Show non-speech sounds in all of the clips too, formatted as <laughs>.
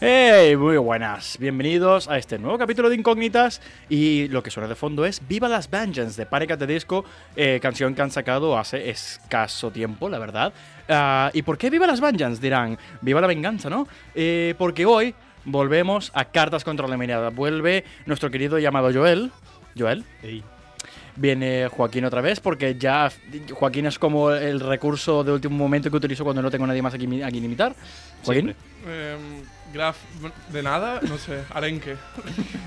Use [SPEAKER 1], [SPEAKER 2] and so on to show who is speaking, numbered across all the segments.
[SPEAKER 1] ¡Hey! Muy buenas, bienvenidos a este nuevo capítulo de Incógnitas y lo que suena de fondo es Viva las Vengeance de Panic! at the Disco, eh, canción que han sacado hace escaso tiempo, la verdad. Ah, ¿Y por qué Viva las Vengeance? Dirán, Viva la venganza, ¿no? Eh, porque hoy volvemos a Cartas contra la Mirada. Vuelve nuestro querido llamado Joel. Joel, viene Joaquín otra vez, porque ya Joaquín es como el recurso de último momento que utilizo cuando no tengo nadie más aquí mi- a quien imitar. Joaquín,
[SPEAKER 2] Em, graf de nada, no sé, arenque.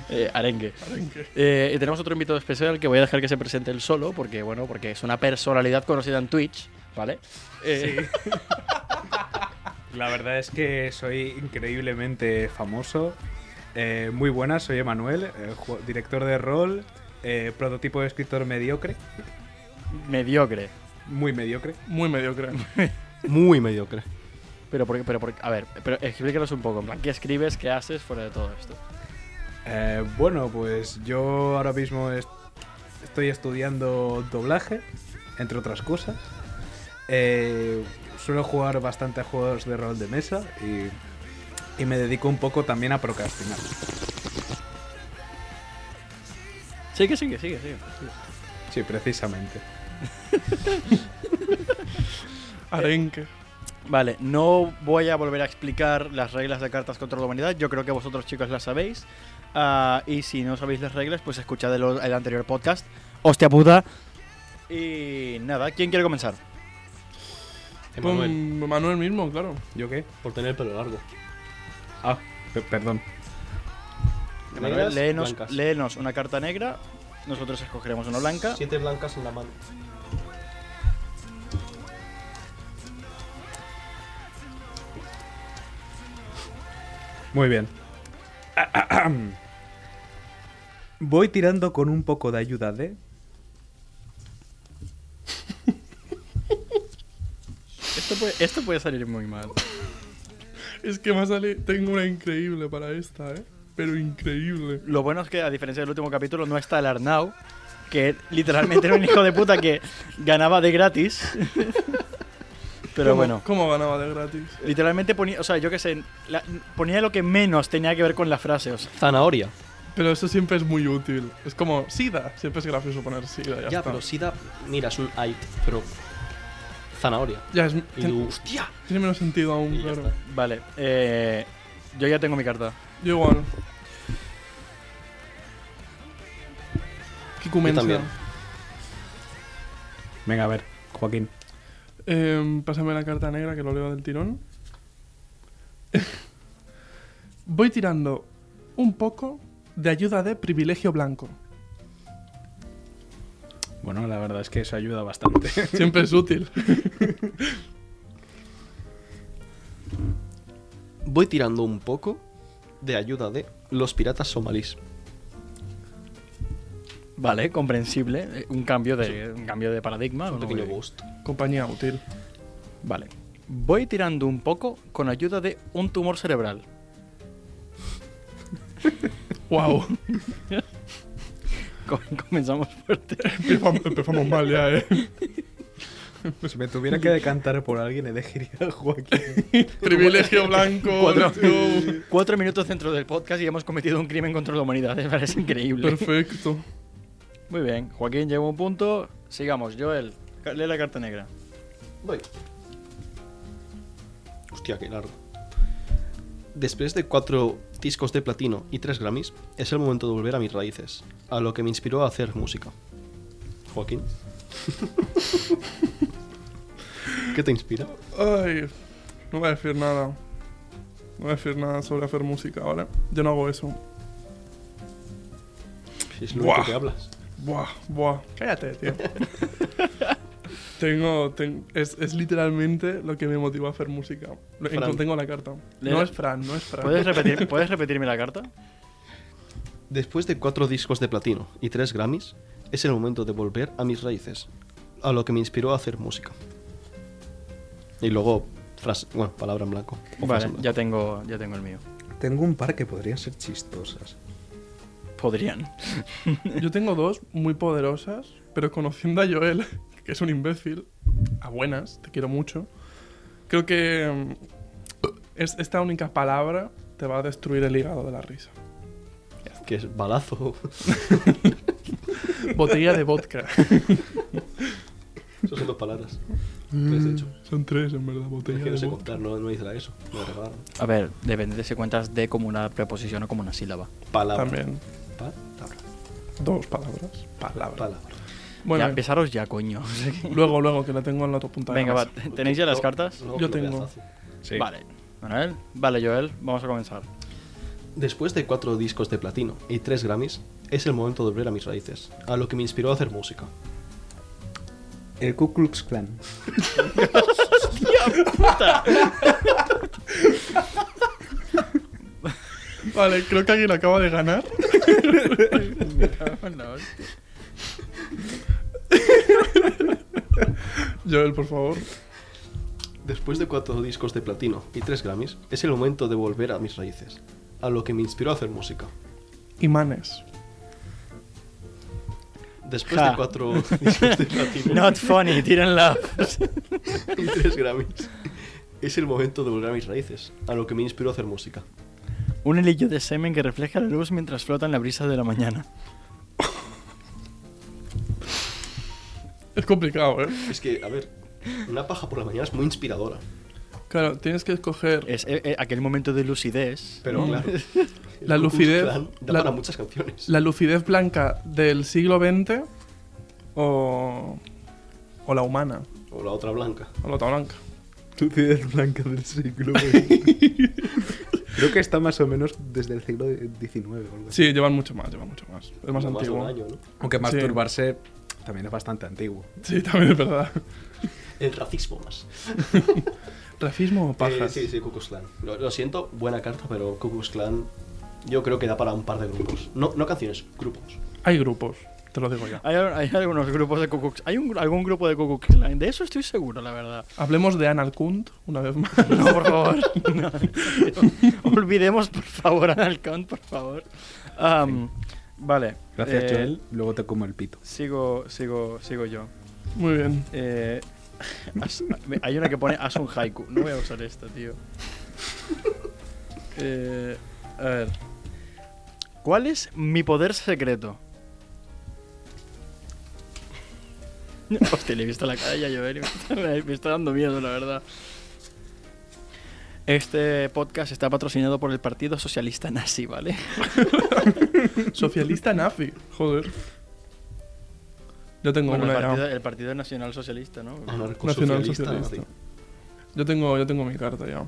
[SPEAKER 1] eh, arengue.
[SPEAKER 2] arenque.
[SPEAKER 1] Eh, y tenemos otro invitado especial que voy a dejar que se presente él solo, porque bueno, porque es una personalidad conocida en Twitch, ¿vale? Eh,
[SPEAKER 3] La verdad es que soy increíblemente famoso. Eh, muy buenas, soy Emanuel, eh, ju- director de rol, eh, prototipo de escritor mediocre,
[SPEAKER 1] Mediocre.
[SPEAKER 3] muy mediocre.
[SPEAKER 2] Muy mediocre.
[SPEAKER 4] Muy mediocre.
[SPEAKER 1] Pero, por, pero por- a ver, pero explícanos un poco, en plan, ¿qué escribes, qué haces fuera de todo esto?
[SPEAKER 3] Eh, bueno, pues yo ahora mismo est- estoy estudiando doblaje, entre otras cosas. Eh, suelo jugar bastante a juegos de rol de mesa y, y me dedico un poco también a procrastinar.
[SPEAKER 1] Sigue, sigue, sigue, sigue.
[SPEAKER 3] Sí, precisamente.
[SPEAKER 2] Arenque.
[SPEAKER 1] Vale, no voy a volver a explicar las reglas de Cartas contra la Humanidad, yo creo que vosotros chicos las sabéis. Ah, y si no sabéis las reglas, pues escuchad el, el anterior podcast. Hostia puta. Y nada, ¿quién quiere comenzar?
[SPEAKER 4] Emanuel,
[SPEAKER 2] Pum, Manuel mismo, claro.
[SPEAKER 3] ¿Yo qué?
[SPEAKER 4] por tener el pelo largo.
[SPEAKER 3] Ah, pe- perdón.
[SPEAKER 4] Negras,
[SPEAKER 1] Léenos,
[SPEAKER 4] blancas.
[SPEAKER 1] léenos una carta negra, nosotros escogeremos una blanca.
[SPEAKER 4] Siete blancas en la mano.
[SPEAKER 3] Muy bien. <clears throat> Voy tirando con un poco de ayuda de.
[SPEAKER 1] Esto puede, esto puede salir muy mal.
[SPEAKER 2] Es que más sale. Tengo una increíble para esta, ¿eh? Pero increíble.
[SPEAKER 1] Lo bueno es que, a diferencia del último capítulo, no está el Arnau, que literalmente era un hijo de puta que ganaba
[SPEAKER 3] <laughs>
[SPEAKER 1] de gratis. Pero
[SPEAKER 2] ¿Cómo-
[SPEAKER 1] bueno,
[SPEAKER 2] ¿Cómo ganaba de gratis?
[SPEAKER 1] literalmente ponía, o sea, yo qué sé, la- ponía lo que menos tenía que ver con la frase. O sea,
[SPEAKER 4] Zanahoria.
[SPEAKER 2] Pero eso siempre es muy útil. Es como SIDA. Siempre es gracioso poner SIDA. Ya,
[SPEAKER 4] Ya,
[SPEAKER 2] está.
[SPEAKER 4] pero Sida, mira, es un AIT, pero. Zanahoria.
[SPEAKER 2] Ya es.
[SPEAKER 4] Y
[SPEAKER 2] tien-
[SPEAKER 4] tú, ¡hostia!
[SPEAKER 2] Tiene menos sentido aún,
[SPEAKER 4] Y ya
[SPEAKER 2] claro.
[SPEAKER 4] está.
[SPEAKER 1] vale, eh, yo ya tengo mi carta.
[SPEAKER 2] Yo igual. ¿Qué comienza?
[SPEAKER 4] también.
[SPEAKER 3] Venga, a ver, Joaquín.
[SPEAKER 2] Em, pásame la carta negra que lo leo del tirón. <laughs> Voy tirando un poco de ayuda de privilegio blanco.
[SPEAKER 3] Bueno, la verdad es que eso ayuda bastante.
[SPEAKER 2] Siempre es
[SPEAKER 3] <laughs>
[SPEAKER 2] útil.
[SPEAKER 4] Voy tirando un poco de ayuda de los piratas somalís.
[SPEAKER 1] Vale, comprensible. eh, Un cambio de, un cambio de paradigma.
[SPEAKER 4] Un
[SPEAKER 1] ¿no?
[SPEAKER 4] pequeño boost.
[SPEAKER 2] Compañía útil.
[SPEAKER 1] Vale. Voy tirando un poco con ayuda de un tumor cerebral. <laughs>
[SPEAKER 2] Wow.
[SPEAKER 3] <laughs>
[SPEAKER 1] Com- Comenzamos fuerte.
[SPEAKER 2] empezamos, empezamos mal ya,
[SPEAKER 3] <laughs>
[SPEAKER 2] eh.
[SPEAKER 3] si me tuviera que decantar por alguien, elegiría a Joaquín.
[SPEAKER 2] privilegio blanco.
[SPEAKER 1] Cuatro,
[SPEAKER 2] let's go.
[SPEAKER 1] cuatro minutos dentro del podcast y hemos cometido un crimen contra la humanidad. <laughs> Me parece increíble.
[SPEAKER 2] Perfecto.
[SPEAKER 1] Muy bien. Joaquín lleva un punto. Sigamos. Joel, ca- lee la carta negra.
[SPEAKER 4] Voy. Hostia, qué largo. Después de cuatro discos de platino y tres Grammys, es el momento de volver a mis raíces, a lo que me inspiró a hacer música. Joaquín. <laughs> ¿Qué te inspira?
[SPEAKER 2] Ay, no voy a decir nada. No voy a decir nada sobre hacer música, ¿vale? Yo no hago eso.
[SPEAKER 4] Si es lo
[SPEAKER 2] Buah.
[SPEAKER 4] único que hablas.
[SPEAKER 1] <laughs>
[SPEAKER 2] Buah, buah. Cállate, tío. Tengo, ten- es, es literalmente lo que me motivó a hacer música. Lo-
[SPEAKER 4] Fran.
[SPEAKER 2] encon- Tengo la carta.
[SPEAKER 1] Le-
[SPEAKER 2] No es Fran, no es Fran.
[SPEAKER 1] ¿Puedes, repetir- ¿Puedes repetirme la carta?
[SPEAKER 4] Después de cuatro discos de platino y tres Grammys, es el momento de volver a mis raíces, a lo que me inspiró a hacer música. Y luego, frase, bueno, palabra en blanco. o
[SPEAKER 1] Vale,
[SPEAKER 4] frase en
[SPEAKER 1] ya
[SPEAKER 4] blanco.
[SPEAKER 1] tengo, ya tengo el mío.
[SPEAKER 3] <laughs> Tengo un par que podrían ser chistosas.
[SPEAKER 1] Podrían.
[SPEAKER 2] Yo tengo dos muy poderosas, pero conociendo a Joel, <laughs> que es un imbécil, a buenas, te quiero mucho, creo que mm, es, esta única palabra te va a destruir el hígado de la risa.
[SPEAKER 4] Que es balazo. <laughs>
[SPEAKER 2] Botella de vodka.
[SPEAKER 4] Esas son dos palabras.
[SPEAKER 2] Mm.
[SPEAKER 4] Tres, de hecho.
[SPEAKER 2] Son tres, en verdad, botella
[SPEAKER 4] Es que no
[SPEAKER 2] de
[SPEAKER 4] sé
[SPEAKER 2] vodka.
[SPEAKER 4] contar, no, no hice la eso. Me regalaron.
[SPEAKER 1] A ver, depende de si cuentas de como una preposición o como una sílaba.
[SPEAKER 4] Palabra.
[SPEAKER 2] También.
[SPEAKER 4] Palabra.
[SPEAKER 2] Dos palabras. Palabra.
[SPEAKER 4] Palabra.
[SPEAKER 2] Bueno,
[SPEAKER 1] ya, empezaros ya, coño. <laughs> O sea que-
[SPEAKER 2] luego, luego, que la tengo en la otra punta de
[SPEAKER 1] Venga,
[SPEAKER 2] la
[SPEAKER 1] va,
[SPEAKER 2] mesa.
[SPEAKER 1] ¿tenéis ya las
[SPEAKER 4] No,
[SPEAKER 1] cartas?
[SPEAKER 4] no,
[SPEAKER 2] Yo
[SPEAKER 4] lo veas
[SPEAKER 2] tengo.
[SPEAKER 4] fácil.
[SPEAKER 3] Sí.
[SPEAKER 1] Vale. Manuel, vale, Joel, vamos a comenzar.
[SPEAKER 4] Después de cuatro discos de platino y tres Grammys, es el momento de volver a mis raíces, a lo que me inspiró a hacer música.
[SPEAKER 3] El Ku Klux Klan.
[SPEAKER 2] Vale, creo que alguien acaba de ganar. Joel, por favor.
[SPEAKER 4] Después de cuatro discos de platino y tres Grammys, es el momento de volver a mis raíces, a lo que me inspiró a hacer música.
[SPEAKER 2] Imanes.
[SPEAKER 4] Después
[SPEAKER 1] Ja.
[SPEAKER 4] de cuatro <laughs> discos de
[SPEAKER 2] <laughs>
[SPEAKER 4] platino
[SPEAKER 3] <laughs>
[SPEAKER 1] Not funny, tírenla.
[SPEAKER 4] y tres Grammys, es el momento de volver a mis raíces, a lo que me inspiró a hacer música.
[SPEAKER 1] <laughs> Un hilillo de semen que refleja la luz mientras flota en la brisa de la mañana.
[SPEAKER 2] Es complicado, ¿eh?
[SPEAKER 4] Es que, a ver, una paja por la mañana es muy inspiradora,
[SPEAKER 2] Claro, tienes que escoger
[SPEAKER 1] Es eh, eh, aquel momento de lucidez.
[SPEAKER 4] pero
[SPEAKER 2] Mm.
[SPEAKER 4] claro. el
[SPEAKER 2] <laughs> La
[SPEAKER 4] Ku Klux
[SPEAKER 2] lucidez-
[SPEAKER 4] Klan Da
[SPEAKER 2] la-
[SPEAKER 4] para muchas canciones.
[SPEAKER 2] la lucidez blanca del siglo XX o, o la humana,
[SPEAKER 4] O la otra blanca.
[SPEAKER 2] o la otra blanca.
[SPEAKER 3] Lucidez blanca del siglo
[SPEAKER 4] <laughs>
[SPEAKER 3] Creo que está más o menos desde el siglo XIX. o algo así.
[SPEAKER 2] Sí, llevan mucho más, llevan mucho más. Es más
[SPEAKER 4] Más de
[SPEAKER 2] antiguo.
[SPEAKER 4] un año, ¿no?
[SPEAKER 3] Aunque masturbarse
[SPEAKER 2] masturbarse
[SPEAKER 3] también es bastante antiguo.
[SPEAKER 2] Sí, también es verdad.
[SPEAKER 4] El racismo más.
[SPEAKER 2] ¿Racismo o
[SPEAKER 4] Eh,
[SPEAKER 2] pajas?
[SPEAKER 4] sí, sí, Ku Klux Klan. Lo, lo siento, buena carta, pero Ku Klux Klan yo creo que da para un par de grupos. No, no canciones, grupos.
[SPEAKER 2] Hay grupos, te lo digo ya.
[SPEAKER 1] Hay, hay algunos grupos de Ku Klux- Hay un gru- algún grupo de Ku Klux Klan. De eso estoy seguro,
[SPEAKER 3] <laughs>
[SPEAKER 1] la verdad.
[SPEAKER 2] Hablemos de Anal Kunt una vez más.
[SPEAKER 1] <laughs> No, por favor. No, en serio. Olvidemos, por favor, a Alcón, por favor. Am, Vale.
[SPEAKER 3] Gracias,
[SPEAKER 1] eh,
[SPEAKER 3] Joel. Luego te como el pito.
[SPEAKER 1] Sigo, sigo, sigo yo.
[SPEAKER 2] Muy bien.
[SPEAKER 1] Eh, as- me- hay una que pone Haz un haiku. No voy a usar esta, tío. Eh, a ver. ¿Cuál es mi poder secreto? <laughs> Hostia, le he visto la cara ya llover. y Me, me está dando miedo, la verdad. Este podcast está patrocinado por el Partido Socialista Nazi, ¿vale?
[SPEAKER 2] Socialista nazi, joder. Yo tengo
[SPEAKER 1] Bueno, el,
[SPEAKER 2] una ya.
[SPEAKER 1] partido, el Partido Nacional Socialista, ¿no?
[SPEAKER 4] Ah, Anarcosocialista.
[SPEAKER 2] Nacionalsocialista. Yo tengo, yo tengo mi carta ya.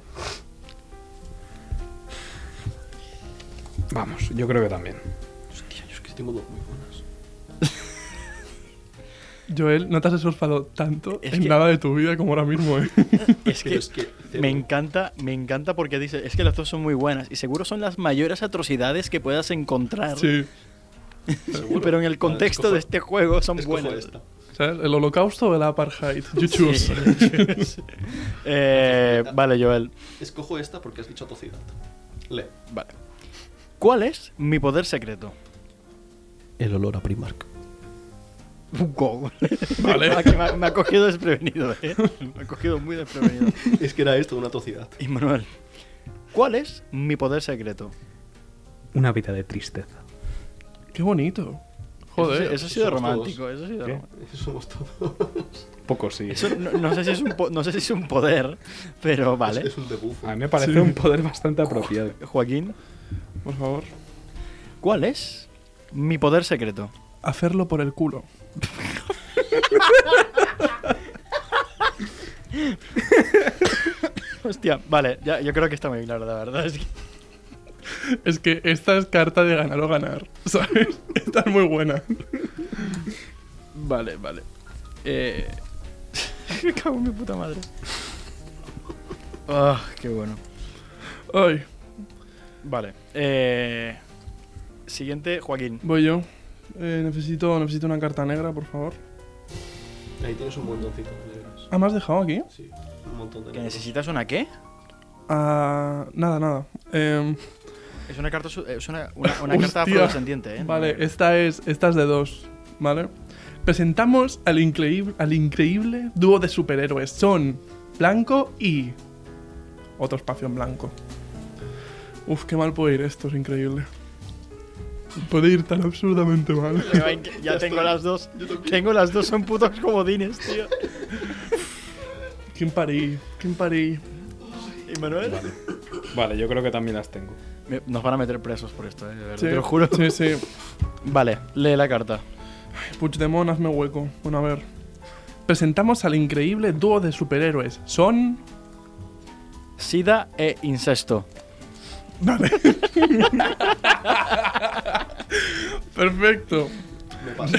[SPEAKER 3] Vamos, yo creo que también.
[SPEAKER 4] Hostia, yo es que tengo dos muy buenas.
[SPEAKER 2] Joel, no te has esforzado tanto
[SPEAKER 1] Es
[SPEAKER 2] en
[SPEAKER 1] que-
[SPEAKER 2] nada de tu vida como ahora
[SPEAKER 1] <laughs>
[SPEAKER 2] mismo, ¿eh?
[SPEAKER 1] Es que
[SPEAKER 4] Pero es que este cero.
[SPEAKER 1] Me encanta, me encanta porque dice, es que las dos son muy buenas y seguro son las mayores atrocidades que puedas encontrar.
[SPEAKER 2] Sí.
[SPEAKER 4] Seguro.
[SPEAKER 1] Pero en el
[SPEAKER 4] Vale,
[SPEAKER 1] contexto
[SPEAKER 4] escojo-
[SPEAKER 1] de este juego son
[SPEAKER 4] escojo
[SPEAKER 1] buenas.
[SPEAKER 4] esta.
[SPEAKER 2] ¿Sabes? ¿El holocausto o el apartheid? You choose.
[SPEAKER 1] <laughs>
[SPEAKER 4] <laughs>
[SPEAKER 1] Sí. Eh, vale, Joel.
[SPEAKER 4] Escojo esta porque has dicho tocidad. Le.
[SPEAKER 1] Vale. ¿Cuál es mi poder secreto? <laughs>
[SPEAKER 4] El olor a Primark.
[SPEAKER 1] Wow.
[SPEAKER 4] Eh.
[SPEAKER 1] <laughs>
[SPEAKER 2] Vale.
[SPEAKER 1] Aquí me, ha, me ha cogido desprevenido,
[SPEAKER 4] <laughs>
[SPEAKER 1] ¿eh? Me ha cogido muy desprevenido.
[SPEAKER 4] <laughs> Es que era esto, una tocidad.
[SPEAKER 1] Y Manuel, ¿cuál es mi poder secreto?
[SPEAKER 3] Una vida de tristeza.
[SPEAKER 2] Qué bonito. Joder.
[SPEAKER 1] Eso, sí- eso ha sido
[SPEAKER 4] somos
[SPEAKER 1] romántico. Eso ha sido
[SPEAKER 3] ¿Qué?
[SPEAKER 1] romántico.
[SPEAKER 4] Somos todos.
[SPEAKER 3] Poco sí.
[SPEAKER 1] Eso no, no sé si es un po- no sé si es un poder, pero vale.
[SPEAKER 4] <laughs> Es, es un debufo.
[SPEAKER 3] A mí me parece
[SPEAKER 2] Sí.
[SPEAKER 3] un poder bastante apropiado.
[SPEAKER 1] Joaquín,
[SPEAKER 2] Por favor.
[SPEAKER 1] ¿cuál es mi poder secreto? <laughs>
[SPEAKER 2] Hacerlo por el culo.
[SPEAKER 1] Hostia, vale, ya, yo creo que está muy claro, la verdad. Es que <laughs>
[SPEAKER 2] Es que esta es carta de ganar o ganar, <laughs> ¿sabes? Esta es muy buena.
[SPEAKER 1] Vale, vale. Eh, Me cago en mi puta madre. Ah, qué bueno.
[SPEAKER 2] Ay,
[SPEAKER 1] Vale. Eh, siguiente, Joaquín.
[SPEAKER 2] voy yo. Eh, necesito, necesito una carta negra, por favor.
[SPEAKER 4] Ahí tienes un montoncito de negros.
[SPEAKER 2] Ah, ¿me has dejado aquí?
[SPEAKER 4] Sí, un montón de
[SPEAKER 1] ¿Que
[SPEAKER 4] negros.
[SPEAKER 1] necesitas una qué?
[SPEAKER 2] Ah, nada, nada. Em,
[SPEAKER 1] Es una carta, su- eh, es una, una,
[SPEAKER 5] <laughs>
[SPEAKER 1] una
[SPEAKER 2] Hostia.
[SPEAKER 1] carta afrodescendiente, ¿eh?
[SPEAKER 2] Vale, esta es, esta es de dos, ¿vale? Presentamos al increíble, al increíble dúo de superhéroes. Son Blanco y... Otro espacio en blanco. Uf, qué mal puede ir esto, es increíble. Puede ir tan absurdamente mal. <laughs>
[SPEAKER 1] Ya tengo las dos. Tengo las dos, son putos comodines, tío.
[SPEAKER 2] ¿Quién parí? ¿Quién parí?
[SPEAKER 1] ¿Y Manuel?
[SPEAKER 5] Vale, yo creo que también las tengo.
[SPEAKER 1] Me- Nos van a meter presos por esto, ¿eh? de verdad,
[SPEAKER 2] Sí,
[SPEAKER 1] Te lo juro.
[SPEAKER 2] Sí, sí.
[SPEAKER 1] Vale, lee la carta.
[SPEAKER 2] Puigdemont, hazme hueco. Bueno, a ver. Presentamos al increíble dúo de superhéroes. Son...
[SPEAKER 1] Sida e incesto.
[SPEAKER 2] Vale. <laughs> Perfecto.
[SPEAKER 4] Me pasa.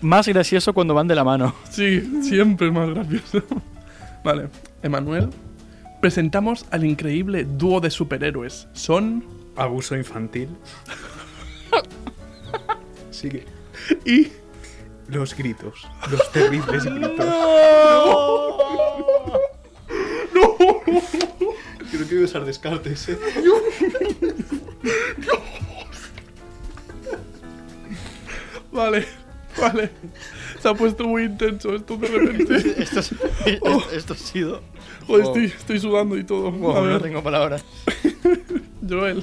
[SPEAKER 1] Más gracioso cuando van de la mano.
[SPEAKER 2] Sí, siempre es más gracioso. Vale, Emanuel. Presentamos al increíble dúo de superhéroes. Son
[SPEAKER 3] Abuso infantil. Sigue.
[SPEAKER 2] y...
[SPEAKER 3] Los gritos. Los terribles gritos.
[SPEAKER 4] Creo que voy a usar descartes, eh.
[SPEAKER 2] Vale, vale. Se ha puesto muy intenso esto
[SPEAKER 1] <laughs>
[SPEAKER 2] de repente.
[SPEAKER 1] <laughs> Esto, es- esto- esto ha sido.
[SPEAKER 2] Joder, estoy, estoy sudando y todo.
[SPEAKER 1] Wow,
[SPEAKER 2] A
[SPEAKER 1] no
[SPEAKER 2] ver,
[SPEAKER 1] tengo palabras.
[SPEAKER 2] Joel.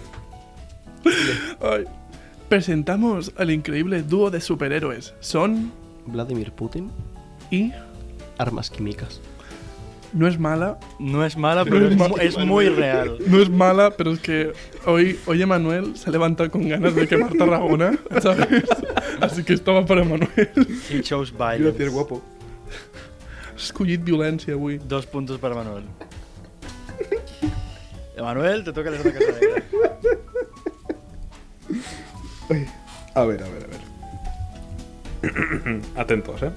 [SPEAKER 2] Ay. Presentamos al increíble dúo de superhéroes. Son
[SPEAKER 4] Vladimir Putin,
[SPEAKER 2] y...
[SPEAKER 4] armas químicas.
[SPEAKER 2] No es mala,
[SPEAKER 1] No es mala, pero es,
[SPEAKER 2] es
[SPEAKER 1] mu- es muy real.
[SPEAKER 2] No es mala, pero es que hoy, hoy Emanuel se ha levantado con ganas de quemar Tarragona, ¿sabes? Así que estava per Emanuel.
[SPEAKER 1] He chose
[SPEAKER 3] Quiero decir
[SPEAKER 1] violence.
[SPEAKER 3] guapo.
[SPEAKER 2] Has escollit violència avui.
[SPEAKER 1] Dos puntos para Manuel. Manuel, te toca leer la carta negra.
[SPEAKER 3] A ver, a ver, a ver.
[SPEAKER 5] Atentos, ¿eh?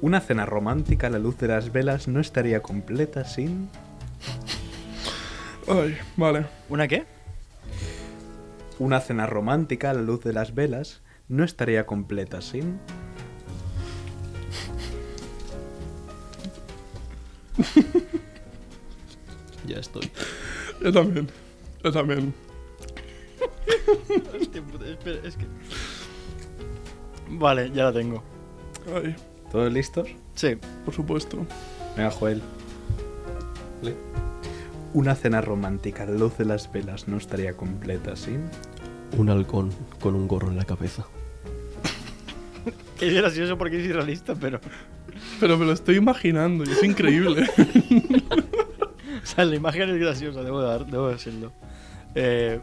[SPEAKER 3] Una cena romántica a la luz de las velas no estaría completa sin.
[SPEAKER 2] Ai, vale.
[SPEAKER 1] ¿Una qué?
[SPEAKER 3] Una cena romántica a la luz de las velas no estaría completa sin.
[SPEAKER 4] Ya estoy.
[SPEAKER 2] Jo també. Jo també.
[SPEAKER 1] Hostia puta, Este espera, es que. Vale, ya la tengo.
[SPEAKER 2] Ai,
[SPEAKER 3] ¿Todos listos?
[SPEAKER 1] Sí.
[SPEAKER 2] por supuesto.
[SPEAKER 3] Venga, Joel.
[SPEAKER 4] Le-
[SPEAKER 3] Una cena romántica a la luz de las velas no estaría completa sin.
[SPEAKER 4] Un halcón con un gorro en la cabeza.
[SPEAKER 1] Es gracioso porque es irrealista, pero.
[SPEAKER 2] Però me lo estoy imaginando y es increíble.
[SPEAKER 1] O sea, la imagen es graciosa, debo, dar, debo decirlo. Eh,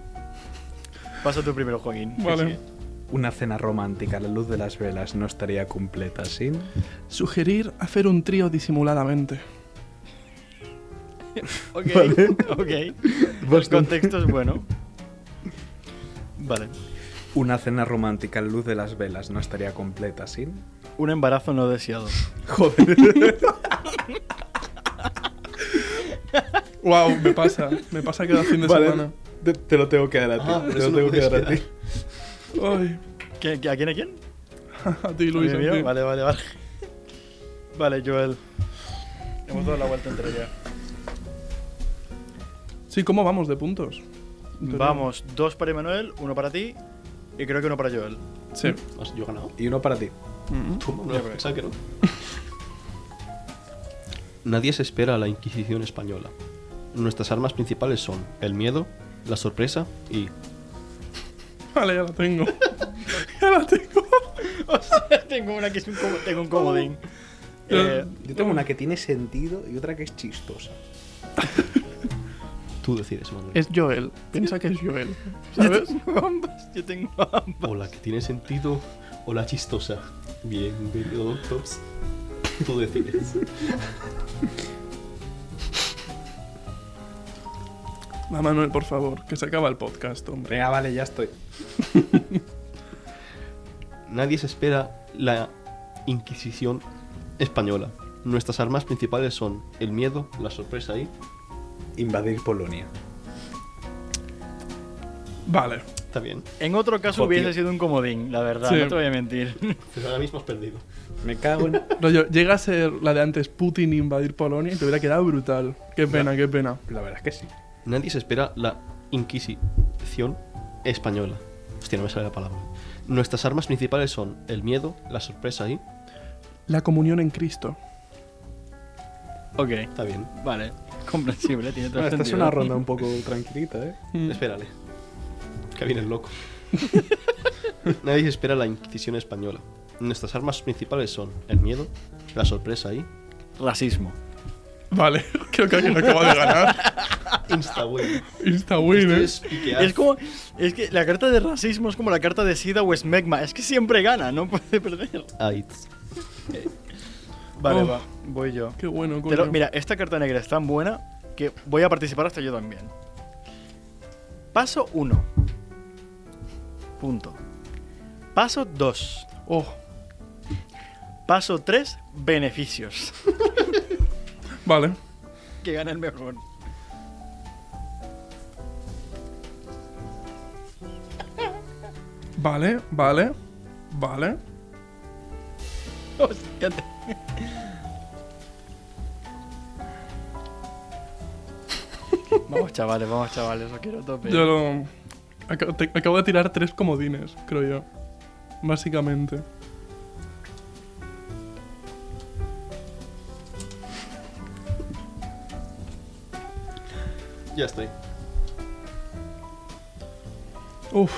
[SPEAKER 1] pasa tú primero, Joaquín. que
[SPEAKER 2] Vale.
[SPEAKER 1] sigue.
[SPEAKER 3] Una cena romántica a la luz de las velas no estaría completa sin.
[SPEAKER 2] Sugerir hacer un trío disimuladamente.
[SPEAKER 1] <laughs> Ok, ok. El
[SPEAKER 3] Bastante.
[SPEAKER 1] contexto es bueno. Vale.
[SPEAKER 3] Una cena romántica a la luz de las velas no estaría completa sin.
[SPEAKER 1] Un embarazo no deseado.
[SPEAKER 2] Wow, me pasa. Me pasa cada fin de setmana.
[SPEAKER 3] te, te lo tengo que dar a ti.
[SPEAKER 4] Ah, pero
[SPEAKER 3] te
[SPEAKER 4] eso
[SPEAKER 3] lo
[SPEAKER 4] no
[SPEAKER 3] tengo que
[SPEAKER 4] puedes
[SPEAKER 3] dar a ti.
[SPEAKER 4] quedar.
[SPEAKER 2] Ai,
[SPEAKER 1] ¿Qué- qué- ¿A quién a quién?
[SPEAKER 2] <laughs> a ti, Luis.
[SPEAKER 1] ¿A
[SPEAKER 2] A
[SPEAKER 1] mí, mío?
[SPEAKER 2] ti.
[SPEAKER 1] Vale, vale, vale. Vale, Joel. Hemos dado la vuelta entre ya.
[SPEAKER 2] Sí, ¿cómo vamos de puntos?
[SPEAKER 1] Vamos, dos para Emanuel, uno para ti y creo que uno para Joel.
[SPEAKER 2] Sí.
[SPEAKER 4] Más, Yo he ganado.
[SPEAKER 3] Y uno para ti.
[SPEAKER 4] Toma, no, pensaba que no. <laughs> Nadie se espera a la Inquisición española. Nuestras armas principales son el miedo, la sorpresa y
[SPEAKER 2] Vale, ya la tengo. <laughs> ya la tengo.
[SPEAKER 1] <laughs> O sea, tengo una que es un, como- tengo un comodín. Eh,
[SPEAKER 3] Yo tengo una que tiene sentido y otra que es chistosa.
[SPEAKER 4] tú decides, Manuel.
[SPEAKER 2] Es Joel. Piensa que es Joel. ¿Sabes?
[SPEAKER 1] <laughs> ambas, yo tengo ambas.
[SPEAKER 4] O la que tiene sentido o la chistosa. Bienvenidos. Tú decides. <laughs>
[SPEAKER 2] Va, Manuel, por favor, que se acaba el podcast, hombre.
[SPEAKER 6] ah,
[SPEAKER 3] Venga, vale, ya estoy.
[SPEAKER 4] Nadie se espera la Inquisición española. Nuestras armas principales son el miedo, la sorpresa y...
[SPEAKER 6] Invadir Polonia.
[SPEAKER 2] Vale.
[SPEAKER 4] Está bien.
[SPEAKER 1] En otro caso
[SPEAKER 6] Jo, tío.
[SPEAKER 1] hubiese sido un comodín, la verdad,
[SPEAKER 2] Sí.
[SPEAKER 1] no te voy a mentir. <laughs>
[SPEAKER 4] Pero ahora mismo has perdido.
[SPEAKER 5] Me cago en.
[SPEAKER 2] Rollo, llega a ser la de antes Putin invadir Polonia y te hubiera quedado brutal. Qué pena, qué pena.
[SPEAKER 3] La verdad es que sí.
[SPEAKER 4] Nadie se espera la Inquisición española. Hostia, no me sale la palabra. Nuestras armas principales son el miedo, la sorpresa y...
[SPEAKER 2] La comunión en Cristo.
[SPEAKER 1] ok,
[SPEAKER 4] Está bien.
[SPEAKER 1] vale, comprensible, tiene todo
[SPEAKER 5] Bueno, esta
[SPEAKER 1] sentido.
[SPEAKER 5] es una ronda un poco tranquilita, ¿eh?
[SPEAKER 2] Mm.
[SPEAKER 4] Espérale. Que viene el loco. <laughs> Nadie se espera la Inquisición española. Nuestras armas principales son el miedo, la sorpresa y...
[SPEAKER 1] Racismo.
[SPEAKER 2] Vale, <laughs> creo que alguien acaba de ganar.
[SPEAKER 4] ah, Insta bueno.
[SPEAKER 2] Insta win,
[SPEAKER 4] Esto
[SPEAKER 2] ¿eh?
[SPEAKER 4] es piquear.
[SPEAKER 1] Este Es como, es que la carta de racismo es como la carta de SIDA o esmegma, es que siempre gana, no puede perder.
[SPEAKER 4] AIDS.
[SPEAKER 1] Vale,
[SPEAKER 2] Oh.
[SPEAKER 1] va, voy yo.
[SPEAKER 2] Qué bueno,
[SPEAKER 1] Te
[SPEAKER 2] coño.
[SPEAKER 1] lo- mira, esta carta negra es tan buena que voy a participar hasta yo también. Paso 1. Punto. Paso 2.
[SPEAKER 2] Oh,
[SPEAKER 1] Paso 3. Beneficios. <laughs>
[SPEAKER 2] vale.
[SPEAKER 1] que gana el mejor.
[SPEAKER 2] Vale, vale. Vale.
[SPEAKER 1] Hostia, te- <laughs> vamos chavales, vamos chavales, os quiero a tope.
[SPEAKER 2] Yo lo. Acabo, te- acabo de tirar tres comodines, creo yo. Básicamente.
[SPEAKER 4] Ya estoy.
[SPEAKER 2] Uf,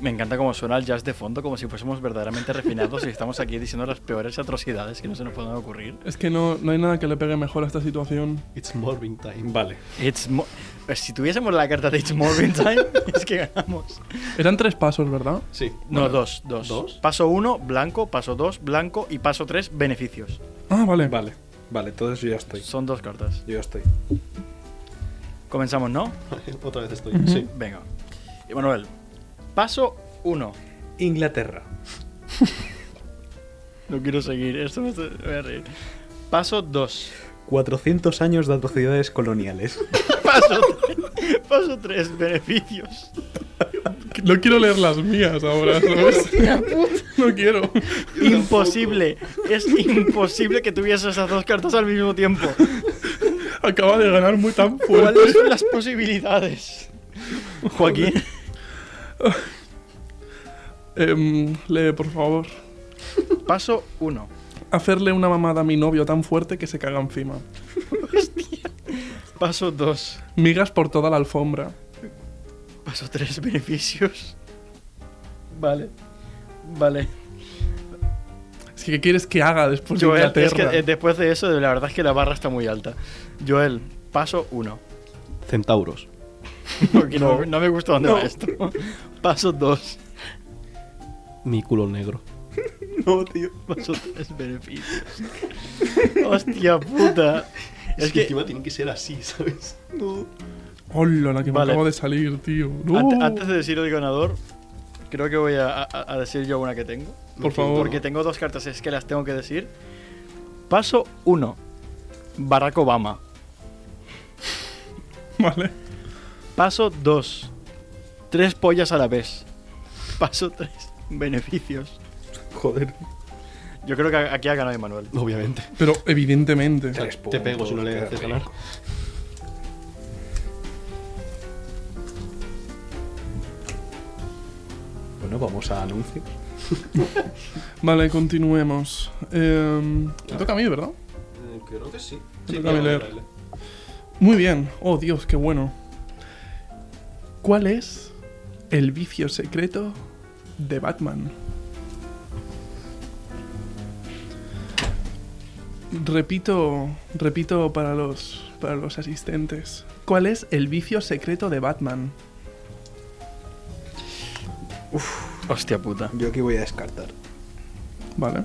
[SPEAKER 1] Me encanta cómo suena el jazz de fondo, como si fuésemos verdaderamente refinados y estamos aquí diciendo las peores atrocidades que no se nos pueden ocurrir.
[SPEAKER 2] es que no, no hay nada que le pegue mejor a esta situación.
[SPEAKER 4] It's morbing time.
[SPEAKER 5] Vale.
[SPEAKER 1] It's mo- pues, si tuviésemos la carta de It's Morbid Time, <laughs> es que ganamos.
[SPEAKER 2] Eran tres pasos, ¿verdad?
[SPEAKER 4] Sí.
[SPEAKER 1] No, dos, dos.
[SPEAKER 4] ¿Dos?
[SPEAKER 1] Paso uno, blanco. Paso dos, blanco. Y paso tres, beneficios.
[SPEAKER 2] Ah, vale.
[SPEAKER 6] Vale, vale, entonces yo ya estoy.
[SPEAKER 1] Son dos cartas.
[SPEAKER 6] Yo ya estoy.
[SPEAKER 1] Comenzamos, ¿no?
[SPEAKER 4] <laughs> Otra vez estoy. Sí.
[SPEAKER 1] Venga. Emanuel, paso uno.
[SPEAKER 6] Inglaterra.
[SPEAKER 1] No quiero seguir, esto me está- me voy a reír. Paso dos. <laughs>
[SPEAKER 6] 400 años de atrocidades coloniales.
[SPEAKER 1] Paso tres. Paso tres, beneficios.
[SPEAKER 2] No quiero leer las mías <laughs> ahora, ¿sabes? <laughs> no quiero.
[SPEAKER 1] Imposible. Es imposible que tuviese esas dos cartas al mismo tiempo. <laughs>
[SPEAKER 2] Acaba de ganar muy tan fuerte.
[SPEAKER 1] ¿Cuáles son las posibilidades? <laughs> Joaquín.
[SPEAKER 2] Em, lee, por favor.
[SPEAKER 1] Paso 1.
[SPEAKER 2] Hacerle una mamada a mi novio tan fuerte que se caga encima.
[SPEAKER 1] Paso 2.
[SPEAKER 2] Migas por toda la alfombra.
[SPEAKER 1] Paso 3. Beneficios. Vale. Vale.
[SPEAKER 2] Es que, ¿qué quieres que haga después de
[SPEAKER 1] Joel, es
[SPEAKER 2] Inglaterra?
[SPEAKER 1] que eh, después de eso, la verdad es que la barra está muy alta. Joel, paso 1.
[SPEAKER 4] Centauros.
[SPEAKER 1] <laughs> Porque no, no me gusta dónde va esto. Paso 2.
[SPEAKER 4] Mi culo negro.
[SPEAKER 6] no, tío.
[SPEAKER 1] Paso 3. Beneficios. Hostia puta. Es que
[SPEAKER 4] encima tiene que ser así, ¿sabes?
[SPEAKER 6] No.
[SPEAKER 2] Hola, la que me
[SPEAKER 1] Vale.
[SPEAKER 2] acabo de salir, tío. Uh, No.
[SPEAKER 1] ante- antes de decir el ganador, creo que voy a, a- a decir yo una que tengo.
[SPEAKER 2] Por favor.
[SPEAKER 1] Porque tengo dos cartas, es que las tengo que decir. Paso 1. Barack Obama.
[SPEAKER 2] Vale.
[SPEAKER 1] Paso 2. Tres pollas a la vez. Paso 3. Beneficios.
[SPEAKER 6] Joder.
[SPEAKER 1] Yo creo que aquí ha ganado Emanuel.
[SPEAKER 4] Obviamente.
[SPEAKER 2] Pero evidentemente.
[SPEAKER 6] Tres
[SPEAKER 4] Te pego
[SPEAKER 6] puntos,
[SPEAKER 4] si no le
[SPEAKER 6] qué
[SPEAKER 4] haces
[SPEAKER 6] rico.
[SPEAKER 4] ganar.
[SPEAKER 6] Bueno, vamos a anuncios.
[SPEAKER 2] Vale, continuemos. Em, me toca a mí, ¿verdad?
[SPEAKER 4] Creo Eh, que sí.
[SPEAKER 2] Sí, Toca dale, leer. dale. Muy bien. Oh, Dios, qué bueno. ¿Cuál es el vicio secreto de Batman? Repito, repito para los, para los asistentes. ¿Cuál es el vicio secreto de Batman?
[SPEAKER 1] Hostia puta.
[SPEAKER 6] Yo aquí voy a descartar.
[SPEAKER 2] Vale.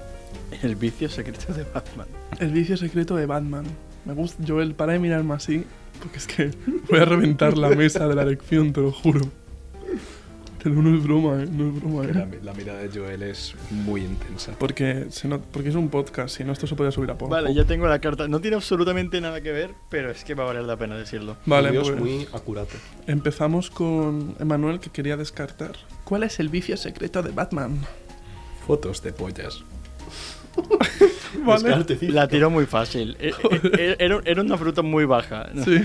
[SPEAKER 1] El vicio secreto de Batman.
[SPEAKER 2] El vicio secreto de Batman. Me gusta, Joel, para de mirarme <laughs> así, porque es que voy a reventar la mesa de la elección, te lo juro. Pero no es broma, ¿eh? No es broma,
[SPEAKER 6] Que La,
[SPEAKER 2] ¿eh?
[SPEAKER 6] la mirada de Joel es muy intensa.
[SPEAKER 2] Porque, se no- porque es un podcast, si no, esto se podía subir a poco.
[SPEAKER 1] Vale, ya tengo la carta. No tiene absolutamente nada que ver, pero es que va a valer la pena decirlo.
[SPEAKER 2] Vale,
[SPEAKER 4] Dios,
[SPEAKER 2] pues
[SPEAKER 4] muy acurate.
[SPEAKER 2] empezamos con Emanuel que quería descartar. ¿Cuál es el vicio secreto de Batman?
[SPEAKER 6] Fotos de pollas.
[SPEAKER 2] Vale.
[SPEAKER 4] Descarte,
[SPEAKER 1] La tiró muy fácil. Eh, eh, Era, era una fruta muy baja.
[SPEAKER 2] <laughs> Sí.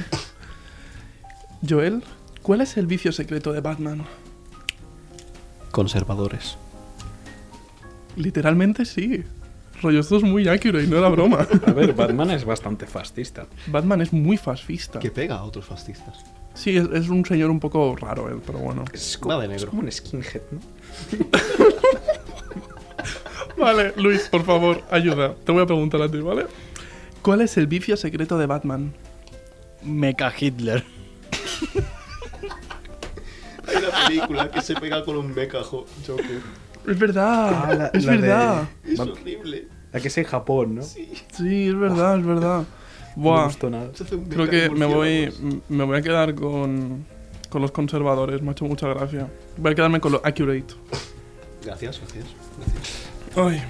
[SPEAKER 2] Joel, ¿cuál es el vicio secreto de Batman?
[SPEAKER 4] Conservadores.
[SPEAKER 2] Literalmente sí. Rollo, esto es muy accurate, no era broma.
[SPEAKER 3] <laughs>
[SPEAKER 6] A ver, Batman es bastante fascista.
[SPEAKER 2] Batman es muy fascista.
[SPEAKER 4] Que pega a otros fascistas.
[SPEAKER 2] Sí, es, es un señor un poco raro él, pero bueno.
[SPEAKER 6] Es
[SPEAKER 4] Va de negro.
[SPEAKER 6] es como un skinhead, ¿no?
[SPEAKER 2] Vale, Luis, por favor, ayuda. Te voy a preguntar a ti, ¿vale? ¿Cuál es el vicio secreto de Batman?
[SPEAKER 1] Meca Hitler.
[SPEAKER 4] Hay una película que se pega con un becajo, Joker.
[SPEAKER 2] Es verdad,
[SPEAKER 3] Ah, la-
[SPEAKER 2] es
[SPEAKER 3] la de-
[SPEAKER 2] verdad.
[SPEAKER 4] Es
[SPEAKER 5] Vale.
[SPEAKER 4] horrible.
[SPEAKER 5] La que es en Japón, ¿no? Sí.
[SPEAKER 2] Sí, es verdad, es verdad.
[SPEAKER 5] No me
[SPEAKER 2] Buah,
[SPEAKER 5] gustó nada.
[SPEAKER 4] Se hace un
[SPEAKER 2] creo
[SPEAKER 4] meca
[SPEAKER 2] que
[SPEAKER 4] con
[SPEAKER 2] me voy,
[SPEAKER 4] murciélagos.
[SPEAKER 2] m- me voy a quedar con, con los conservadores, me ha hecho mucha gracia. Voy a quedarme con lo accurate.
[SPEAKER 4] Gracias, gracias.
[SPEAKER 2] Ay.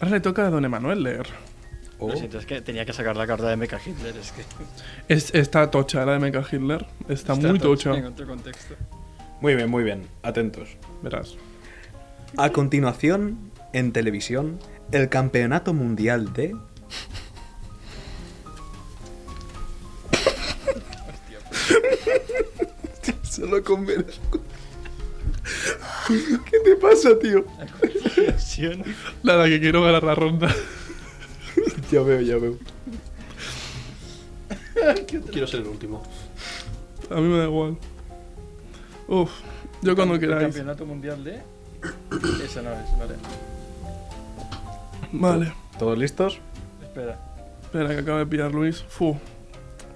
[SPEAKER 2] Ahora le toca a don Emanuel leer.
[SPEAKER 5] Oh.
[SPEAKER 1] Lo siento, es que tenía que sacar la carta de Meca Hitler. Es que <laughs>
[SPEAKER 2] Es, está tocha la de Mecha Hitler. Está, muy tocha.
[SPEAKER 1] En otro contexto.
[SPEAKER 6] Muy bien, muy bien. Atentos.
[SPEAKER 2] Verás.
[SPEAKER 5] A continuación, en televisión, el campeonato mundial de.
[SPEAKER 6] Solo con ver. <laughs> ¿Qué te pasa, tío?
[SPEAKER 2] Nada, que quiero ganar la ronda.
[SPEAKER 6] <laughs> Ya veo, ya veo.
[SPEAKER 4] Quiero ser el último.
[SPEAKER 2] A mí me da igual. Uf, yo cuando queráis.
[SPEAKER 1] Campeonato mundial de. <coughs> Esa no es, vale.
[SPEAKER 2] Vale.
[SPEAKER 6] ¿Todos listos?
[SPEAKER 1] Espera.
[SPEAKER 2] Espera, que acaba de pillar Luis. Fu.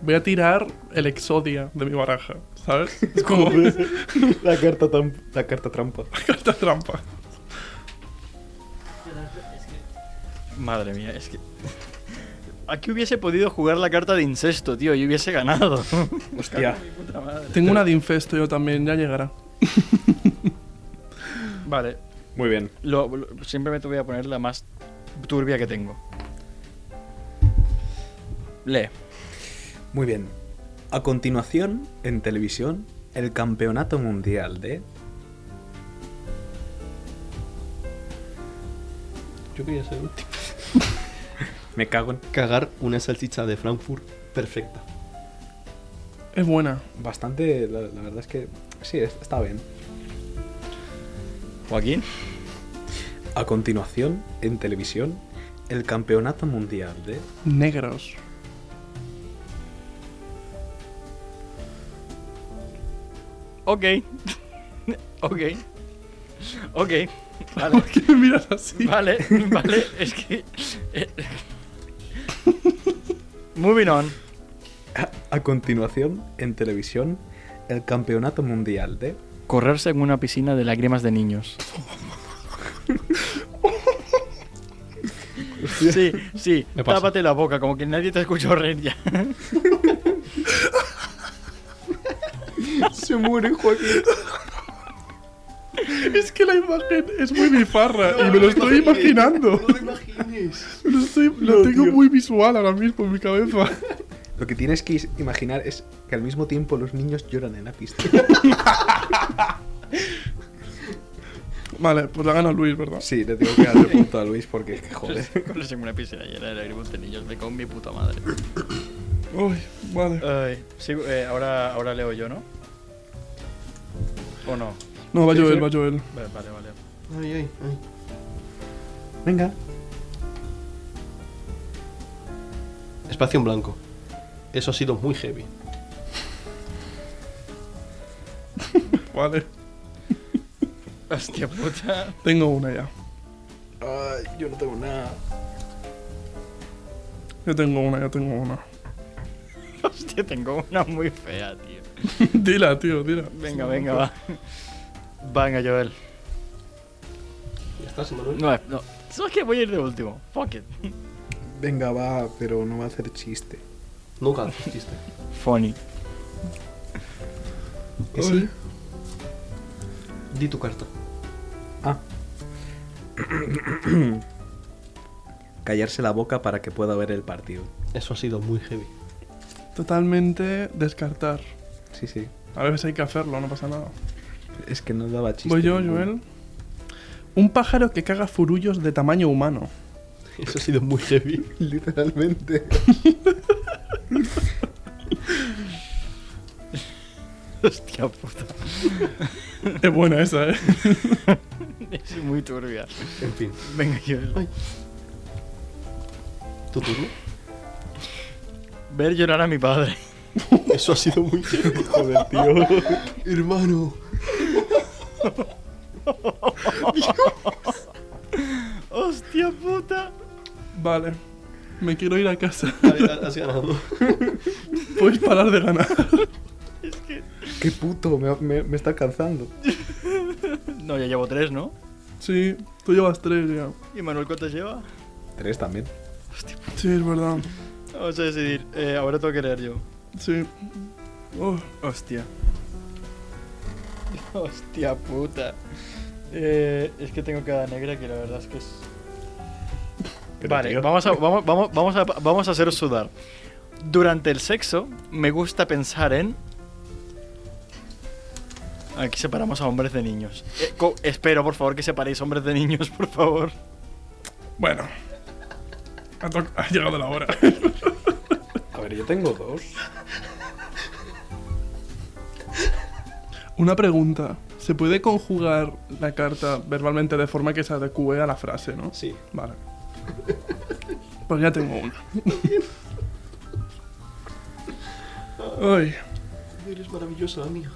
[SPEAKER 2] Voy a tirar el Exodia de mi baraja,
[SPEAKER 6] <laughs>
[SPEAKER 2] ¿sabes? Es como una <laughs>
[SPEAKER 6] La carta, tam- la carta trampa.
[SPEAKER 2] carta trampa.
[SPEAKER 1] Madre mía, es que. <laughs> Aquí hubiese podido jugar la carta de incesto, tío, y hubiese ganado.
[SPEAKER 6] Hostia.
[SPEAKER 2] Tengo una de infesto yo también, ya llegará.
[SPEAKER 1] Vale,
[SPEAKER 6] Muy bien.
[SPEAKER 1] lo, lo- simplemente voy a poner la más turbia que tengo. Lee.
[SPEAKER 5] Muy bien. A continuación, en televisión, el campeonato mundial de.
[SPEAKER 4] Yo quería ser el último.
[SPEAKER 6] Me cago en.
[SPEAKER 4] Cagar una salchicha de Frankfurt perfecta.
[SPEAKER 2] Es buena.
[SPEAKER 5] Bastante, la, la verdad es que sí, es- está bien.
[SPEAKER 1] Joaquín.
[SPEAKER 5] A continuación, en televisión, el campeonato mundial de...
[SPEAKER 1] <laughs>
[SPEAKER 2] Negros. <laughs>
[SPEAKER 1] Ok. <laughs> ok. Ok. Vale.
[SPEAKER 2] ¿Por qué me miras así?
[SPEAKER 1] Vale, vale, es que. eh, Moving on.
[SPEAKER 5] <laughs> A continuación, en televisión, el campeonato mundial de...
[SPEAKER 1] Correrse en una piscina de lágrimas de niños. Sí, sí,
[SPEAKER 4] Me pasa.
[SPEAKER 1] tápate la boca, como que nadie te escuchó reír ya.
[SPEAKER 6] Se muere Joaquín.
[SPEAKER 2] Es que la imagen es muy bifarra y me lo estoy imaginando.
[SPEAKER 4] No lo imagines.
[SPEAKER 2] Lo, estoy, lo tengo muy visual ahora mismo en mi cabeza.
[SPEAKER 5] Lo que tienes que is- imaginar es que al mismo tiempo los niños lloran en la pista. <laughs>
[SPEAKER 2] Vale, pues la gana Luis, ¿verdad?
[SPEAKER 6] Sí, le tengo que dar el punto a Luis porque, joder.
[SPEAKER 1] Correrse en una piscina llena de lágrimas de niños, me cago en mi puta madre. <laughs>
[SPEAKER 2] Uy, vale.
[SPEAKER 1] Ay, sí, eh, ahora, ahora leo yo, ¿no? ¿O no?
[SPEAKER 2] No, va Joel, va Joel.
[SPEAKER 1] Vale, vale, vale.
[SPEAKER 4] Ay, ay, ay.
[SPEAKER 5] Venga.
[SPEAKER 4] Espacio en blanco. Eso ha sido muy heavy.
[SPEAKER 2] <laughs> Vale.
[SPEAKER 1] Hostia puta.
[SPEAKER 2] Tengo una ya.
[SPEAKER 6] Ay, yo no tengo nada.
[SPEAKER 2] Yo tengo una, yo tengo una. <laughs>
[SPEAKER 1] Hostia, tengo una muy fea, tío.
[SPEAKER 2] dila, tío, dila.
[SPEAKER 1] Venga, venga, va. Venga, Joel.
[SPEAKER 4] ¿Ya estás, Manuel?
[SPEAKER 1] No, no. ¿Sabes qué? Voy a ir de último. Fuck it.
[SPEAKER 5] Venga, va, pero no va a hacer chiste.
[SPEAKER 4] Nunca chiste.
[SPEAKER 1] Funny.
[SPEAKER 5] ¿Que sí?
[SPEAKER 4] Di tu carta.
[SPEAKER 5] Ah. <coughs> Callarse la boca para que pueda ver el partido.
[SPEAKER 4] Eso ha sido muy heavy.
[SPEAKER 2] Totalmente descartar.
[SPEAKER 5] Sí, sí.
[SPEAKER 2] A veces hay que hacerlo, no pasa nada.
[SPEAKER 5] Es que no daba chiste.
[SPEAKER 2] Voy yo,
[SPEAKER 5] ninguno.
[SPEAKER 2] Joel. Un pájaro que caga furullos de tamaño humano.
[SPEAKER 4] Eso ha sido muy <laughs> heavy.
[SPEAKER 5] Literalmente.
[SPEAKER 1] Hostia puta.
[SPEAKER 2] <laughs> Es buena esa, ¿eh?
[SPEAKER 1] Es muy turbia.
[SPEAKER 4] En fin,
[SPEAKER 1] Venga, yo.
[SPEAKER 4] tu turno.
[SPEAKER 1] Ver llorar a mi padre.
[SPEAKER 4] Eso ha sido muy heavy. Joder, tío. <laughs> Hermano.
[SPEAKER 1] Hostia puta.
[SPEAKER 2] Vale. Me quiero ir a casa. <laughs>
[SPEAKER 4] Vale, Has ganado.
[SPEAKER 2] Puedes parar de ganar. <laughs>
[SPEAKER 5] Qué puto, me, me- me está alcanzando.
[SPEAKER 1] No, ya llevo tres, ¿no?
[SPEAKER 2] Sí, tú llevas tres ya.
[SPEAKER 1] ¿Y Manuel cuántas lleva?
[SPEAKER 5] Tres también.
[SPEAKER 2] Sí, es verdad.
[SPEAKER 1] Vamos a decidir. Eh, ahora tengo que leer yo. <laughs>
[SPEAKER 2] Sí. Oh,
[SPEAKER 1] Hostia. Hostia puta. Eh, es que tengo cada negra que la verdad es que es. vale, vamos a, vamos, vamos, vamos, a, vamos a hacer sudar. Durante el sexo, me gusta pensar en. Aquí separamos a hombres de niños. Eh, co- espero, por favor, que separéis hombres de niños, por favor.
[SPEAKER 2] bueno. Ha, to- ha llegado la hora.
[SPEAKER 6] A ver, yo tengo dos.
[SPEAKER 2] Una pregunta. ¿Se puede conjugar la carta verbalmente de forma que se adecue a la frase, no?
[SPEAKER 4] Sí.
[SPEAKER 2] Vale. Pues ya tengo una. Ay,
[SPEAKER 4] Eres maravillosa, la mía.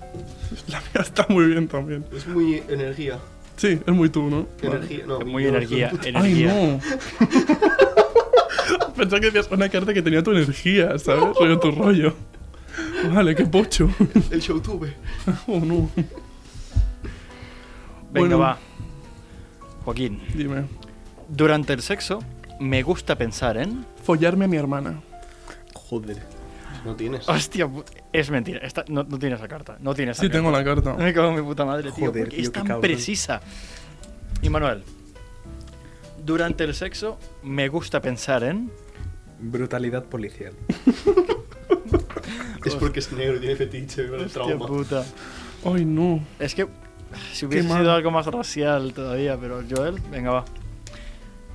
[SPEAKER 2] la mía está muy bien también.
[SPEAKER 4] Es muy energía.
[SPEAKER 2] Sí, es muy tú, ¿no?
[SPEAKER 4] Energía. No,
[SPEAKER 1] Es muy
[SPEAKER 4] no,
[SPEAKER 1] energía,
[SPEAKER 4] puta-
[SPEAKER 2] Ay,
[SPEAKER 1] energía.
[SPEAKER 2] no. <laughs> Pensaba que decías una carta que tenía tu energía, ¿sabes? Rollo tu rollo. Vale, qué pocho. <laughs>
[SPEAKER 4] El showtube.
[SPEAKER 2] Oh, no.
[SPEAKER 1] Venga,
[SPEAKER 2] Bueno.
[SPEAKER 1] va. Joaquín.
[SPEAKER 2] Dime.
[SPEAKER 1] Durante el sexo, me gusta pensar en.
[SPEAKER 2] Follarme a mi hermana.
[SPEAKER 5] Joder.
[SPEAKER 4] No tienes.
[SPEAKER 1] Hostia, put- es mentira. esta- no, no tiene esa carta. No tiene esa
[SPEAKER 2] Sí,
[SPEAKER 1] carta.
[SPEAKER 2] tengo la carta.
[SPEAKER 1] <laughs> Me cago en mi puta madre, tío.
[SPEAKER 5] Joder,
[SPEAKER 1] porque
[SPEAKER 5] tío,
[SPEAKER 1] es
[SPEAKER 5] qué
[SPEAKER 1] tan
[SPEAKER 5] cabrón.
[SPEAKER 1] precisa. Y Manuel, durante el sexo, me gusta pensar en.
[SPEAKER 5] Brutalidad policial.
[SPEAKER 4] Es porque es negro y tiene fetiche con el
[SPEAKER 1] Hostia
[SPEAKER 4] trauma.
[SPEAKER 1] puta.
[SPEAKER 2] Ay, no.
[SPEAKER 1] Es que. ah, Si hubiese
[SPEAKER 2] mal.
[SPEAKER 1] sido algo más racial todavía, pero Joel, venga, va.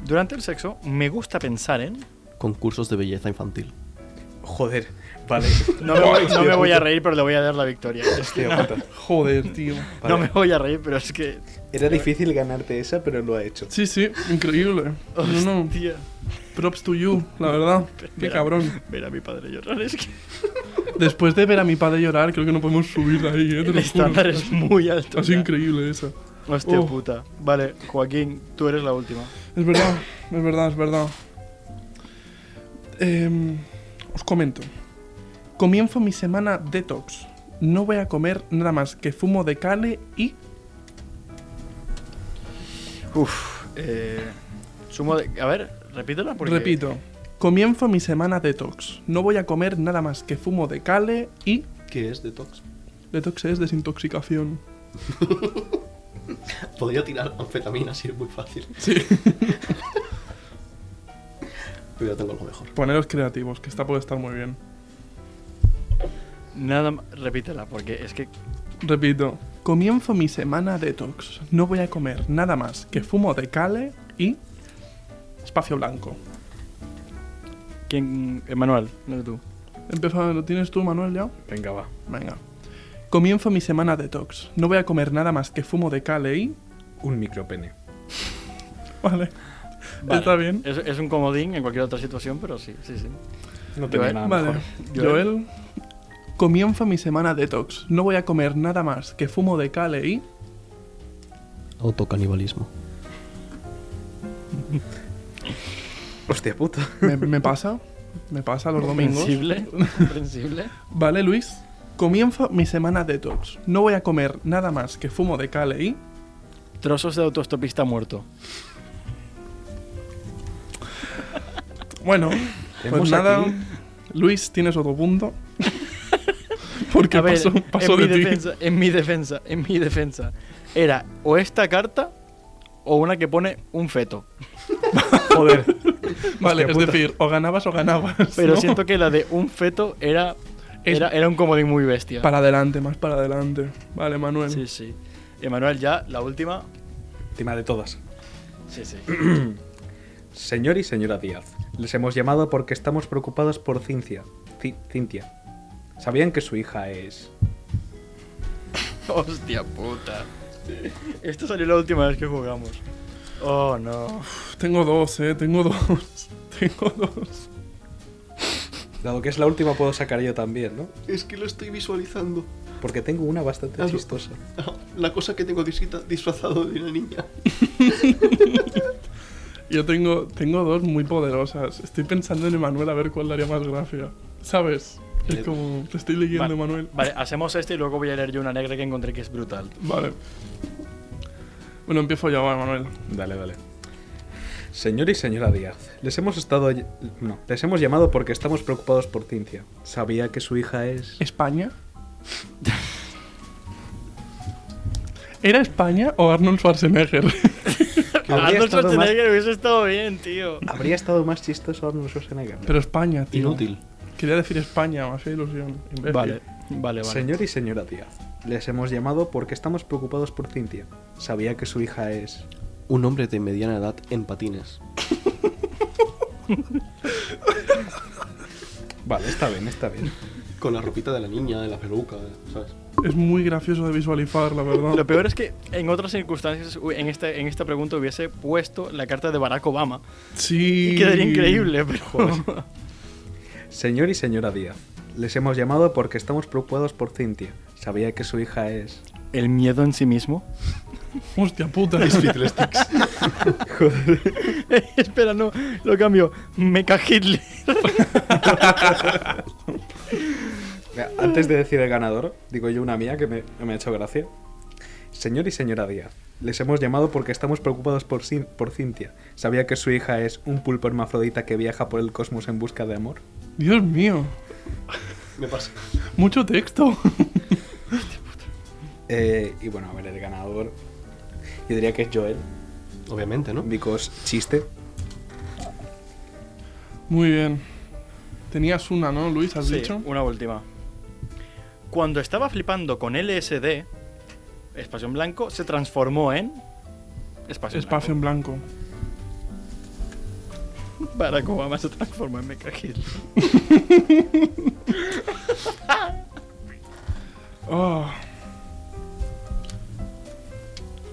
[SPEAKER 1] Durante el sexo, me gusta pensar en.
[SPEAKER 4] Concursos de belleza infantil.
[SPEAKER 5] Joder. Vale. <laughs>
[SPEAKER 1] No me, voy, no me voy a reír, pero le voy a dar la victoria. Es que no,
[SPEAKER 2] Joder, tío.
[SPEAKER 1] no me voy a reír, pero es que.
[SPEAKER 5] Era difícil ganarte esa, pero lo ha hecho.
[SPEAKER 2] Sí, sí, increíble. No, no.
[SPEAKER 1] Hostia.
[SPEAKER 2] Props to you, la verdad. Qué cabrón.
[SPEAKER 1] Ver a mi padre llorar es que
[SPEAKER 2] Después de ver a mi padre llorar, creo que no podemos subir de ahí, ¿eh? Te
[SPEAKER 1] el
[SPEAKER 2] lo
[SPEAKER 1] estándar
[SPEAKER 2] juro.
[SPEAKER 1] es muy alto.
[SPEAKER 2] Es
[SPEAKER 1] ya.
[SPEAKER 2] increíble esa.
[SPEAKER 1] Hostia
[SPEAKER 2] Oh.
[SPEAKER 1] puta. Vale, Joaquín, tú eres la última.
[SPEAKER 2] Es verdad, es verdad, es verdad. Em, os comento. Comienzo mi semana detox. No voy a comer nada más que fumo de cale y...
[SPEAKER 1] Uf. Eh, sumo de. A ver, repítela porque.
[SPEAKER 2] Repito. Comienzo mi semana detox. No voy a comer nada más que fumo de cale y...
[SPEAKER 4] ¿Qué es detox?
[SPEAKER 2] Detox es desintoxicación.
[SPEAKER 4] Podría tirar anfetaminas si es muy fácil. <laughs>
[SPEAKER 2] Sí.
[SPEAKER 4] Pero ya tengo algo mejor.
[SPEAKER 2] Poneros creativos, que esta puede estar muy bien.
[SPEAKER 1] Nada más. Repítela porque es que.
[SPEAKER 2] Repito. Comienzo mi semana detox. No voy a comer nada más que fumo de cale y... Espacio blanco.
[SPEAKER 1] ¿Quién. Emanuel, no eres tú.
[SPEAKER 2] Empieza, ¿lo tienes tú, Manuel, ya?
[SPEAKER 6] Venga, va.
[SPEAKER 2] Venga. Comienzo mi semana detox. No voy a comer nada más que fumo de Cali. y...
[SPEAKER 5] Un micropene.
[SPEAKER 2] Vale.
[SPEAKER 1] Vale.
[SPEAKER 2] Está bien.
[SPEAKER 1] Es, es un comodín en cualquier otra situación, pero sí, sí, sí.
[SPEAKER 6] No
[SPEAKER 1] tenía
[SPEAKER 6] tenía
[SPEAKER 1] Joel.
[SPEAKER 6] nada
[SPEAKER 1] nada
[SPEAKER 2] Vale.
[SPEAKER 1] Joel.
[SPEAKER 2] Joel. Comienzo mi semana detox. No voy a comer nada más que fumo de Cali. y...
[SPEAKER 4] Autocanibalismo.
[SPEAKER 5] Hostia puta.
[SPEAKER 2] Me, me pasa. Me
[SPEAKER 6] <laughs>
[SPEAKER 2] pasa los domingos. <laughs>
[SPEAKER 1] Comprensible. Comprensible.
[SPEAKER 2] Vale, Luis. Comienzo mi semana detox. No voy a comer nada más que fumo de Cali. y...
[SPEAKER 1] Trozos de autostopista muerto. <laughs>
[SPEAKER 2] Bueno, pues
[SPEAKER 5] Hemos
[SPEAKER 2] nada.
[SPEAKER 5] aquí-
[SPEAKER 2] Luis, tienes otro
[SPEAKER 1] <laughs>
[SPEAKER 2] punto. Porque pasó, pasó
[SPEAKER 1] en,
[SPEAKER 2] de
[SPEAKER 1] mi
[SPEAKER 2] ti.
[SPEAKER 1] defensa, en mi defensa, en mi defensa. era o esta carta o una que pone un feto.
[SPEAKER 3] Joder.
[SPEAKER 2] <laughs> Vale,
[SPEAKER 3] Hostia puta.
[SPEAKER 2] es decir, o ganabas o ganabas.
[SPEAKER 1] Pero
[SPEAKER 2] ¿no?
[SPEAKER 1] siento que la de un feto era,
[SPEAKER 2] Es-
[SPEAKER 1] era, era un comodín muy bestia.
[SPEAKER 2] <laughs> Para adelante, más para adelante. Vale, Manuel.
[SPEAKER 1] Sí, sí. Emanuel, ya, la última.
[SPEAKER 5] Encima de todas.
[SPEAKER 1] Sí, sí.
[SPEAKER 5] Señor y señora Díaz, les hemos llamado porque estamos preocupados por Cintia. Ci- Cintia. ¿Sabían que su hija es...
[SPEAKER 1] <laughs> Hostia puta. Esto salió la última vez que jugamos. Oh, no.
[SPEAKER 2] Uf, Tengo dos, eh. Tengo <laughs> dos. Tengo dos.
[SPEAKER 5] Dado que es la última, puedo sacar yo también, ¿no?
[SPEAKER 4] Es que lo estoy visualizando.
[SPEAKER 5] Porque tengo una bastante
[SPEAKER 4] Hazlo.
[SPEAKER 5] chistosa.
[SPEAKER 4] <laughs> La cosa que tengo disita- disfrazado de una niña.
[SPEAKER 2] Yo tengo, tengo dos muy poderosas. Estoy pensando en Emanuel a ver cuál le haría más gracia. ¿Sabes? Es como. Te estoy leyendo, Emanuel.
[SPEAKER 1] Vale, hacemos este y luego voy a leer yo una negra que encontré que es brutal.
[SPEAKER 2] Vale. Bueno, empiezo ya, va, Emanuel.
[SPEAKER 5] Dale, dale. Señor y señora Díaz, les hemos estado... No, les hemos llamado porque estamos preocupados por Cintia. ¿Sabía que su
[SPEAKER 2] <laughs>
[SPEAKER 5] hija es...
[SPEAKER 2] ¿España? ¿Era España o Arnold Schwarzenegger? <laughs>
[SPEAKER 5] Habría
[SPEAKER 1] Arnold
[SPEAKER 5] estado más-
[SPEAKER 1] Schwarzenegger hubiese estado bien, tío.
[SPEAKER 5] Habría estado más chistoso Arnold Schwarzenegger.
[SPEAKER 2] Pero España, tío.
[SPEAKER 4] <laughs> Inútil.
[SPEAKER 2] Quería decir España, me hacía ilusión. imbécil.
[SPEAKER 1] Vale, vale, vale.
[SPEAKER 5] Señor y señora Díaz, les hemos llamado porque estamos preocupados por Cintia. ¿Sabía que su hija es...
[SPEAKER 4] Un hombre de mediana edad en patines.
[SPEAKER 5] Vale, está bien, está bien.
[SPEAKER 4] Con la ropita de la niña, de la peluca, ¿sabes?
[SPEAKER 2] Es muy gracioso de visualizar, la verdad.
[SPEAKER 1] Lo peor es que en otras circunstancias, u- en esta, en esta pregunta hubiese puesto la carta de Barack Obama.
[SPEAKER 2] Sí.
[SPEAKER 1] Y quedaría increíble, pero...
[SPEAKER 5] Señor y señora Díaz, les hemos llamado porque estamos preocupados por Cintia. ¿Sabía que su hija es...
[SPEAKER 1] <laughs> El miedo en sí mismo.
[SPEAKER 2] Hostia puta.
[SPEAKER 1] <laughs> Espera, no, lo cambio. Meca Hitler.
[SPEAKER 5] Mira, Antes de decir el ganador, digo yo una mía que me, que me ha hecho gracia. Señor y señora Díaz, les hemos llamado porque estamos preocupados por, Cin- por Cintia. ¿Sabía que su hija es un pulpo hermafrodita que viaja por el cosmos en busca de amor?
[SPEAKER 2] Dios mío.
[SPEAKER 4] <laughs> Me pasa.
[SPEAKER 2] Mucho texto. <laughs>
[SPEAKER 5] Eh, y bueno, a ver, el ganador. Yo diría que es Joel,
[SPEAKER 4] Obviamente, ¿no?
[SPEAKER 5] because chiste.
[SPEAKER 2] Muy bien. Tenías una, ¿no, Luis? ¿Has
[SPEAKER 1] Sí,
[SPEAKER 2] dicho?
[SPEAKER 1] una última. Cuando estaba flipando con LSD, Espacio en Blanco se transformó en. Espacio, en
[SPEAKER 2] Espacio en blanco.
[SPEAKER 1] Blanco. Barack Obama se transformó en Mecha Hitler.
[SPEAKER 2] Oh.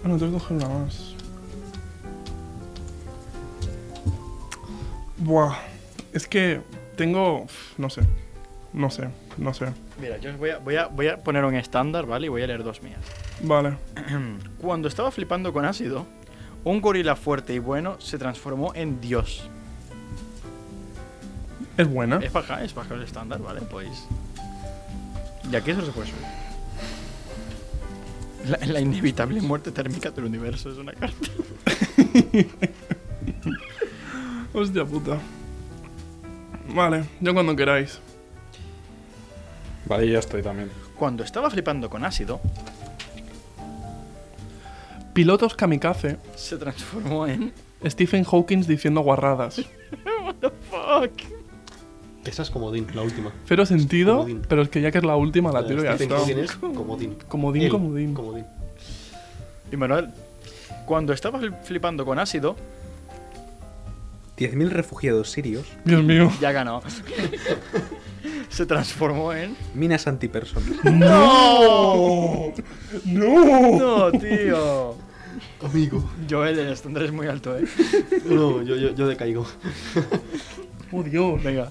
[SPEAKER 2] Bueno, tengo que coger una más. Buah. Es que tengo. No sé. No sé. No sé.
[SPEAKER 1] Mira, yo os voy a, voy, a, voy a poner un estándar, ¿vale? Y voy a leer dos mías.
[SPEAKER 2] Vale.
[SPEAKER 1] Cuando estaba flipando con ácido, un gorila fuerte y bueno se transformó en Dios.
[SPEAKER 2] Es buena.
[SPEAKER 4] Eh.
[SPEAKER 1] Es baja, es baja el estándar, ¿vale? Pues. Y aquí eso se puede subir. La, la inevitable muerte térmica del universo es una carta.
[SPEAKER 2] Hostia puta. Vale, yo cuando queráis.
[SPEAKER 5] Vale, yo estoy también.
[SPEAKER 1] Cuando estaba flipando con ácido,
[SPEAKER 2] Pilotos kamikaze.
[SPEAKER 1] se transformó en.
[SPEAKER 2] Stephen Hawking diciendo guarradas.
[SPEAKER 1] ¡Fuck!
[SPEAKER 4] Esa es comodín, la última.
[SPEAKER 2] Cero sentido,
[SPEAKER 4] Comodín.
[SPEAKER 2] pero es que ya que es la última la tiro y ya
[SPEAKER 4] Stephen
[SPEAKER 2] está.
[SPEAKER 4] Hawking es comodín.
[SPEAKER 2] Comodín,
[SPEAKER 4] Él,
[SPEAKER 2] comodín.
[SPEAKER 4] comodín.
[SPEAKER 1] Y Manuel, cuando estaba fli- flipando con ácido,
[SPEAKER 5] 10.000 refugiados sirios,
[SPEAKER 2] Dios mío.
[SPEAKER 1] ya <laughs> ganó. se transformó
[SPEAKER 2] <laughs>
[SPEAKER 1] en.
[SPEAKER 5] minas antipersona.
[SPEAKER 1] ¡No!
[SPEAKER 2] ¡No!
[SPEAKER 1] ¡No, tío!
[SPEAKER 4] Amigo.
[SPEAKER 1] Joel, el estándar es muy alto, eh.
[SPEAKER 4] <laughs> No, yo, yo, yo decaigo.
[SPEAKER 2] ¡Oh, Dios!
[SPEAKER 1] Venga.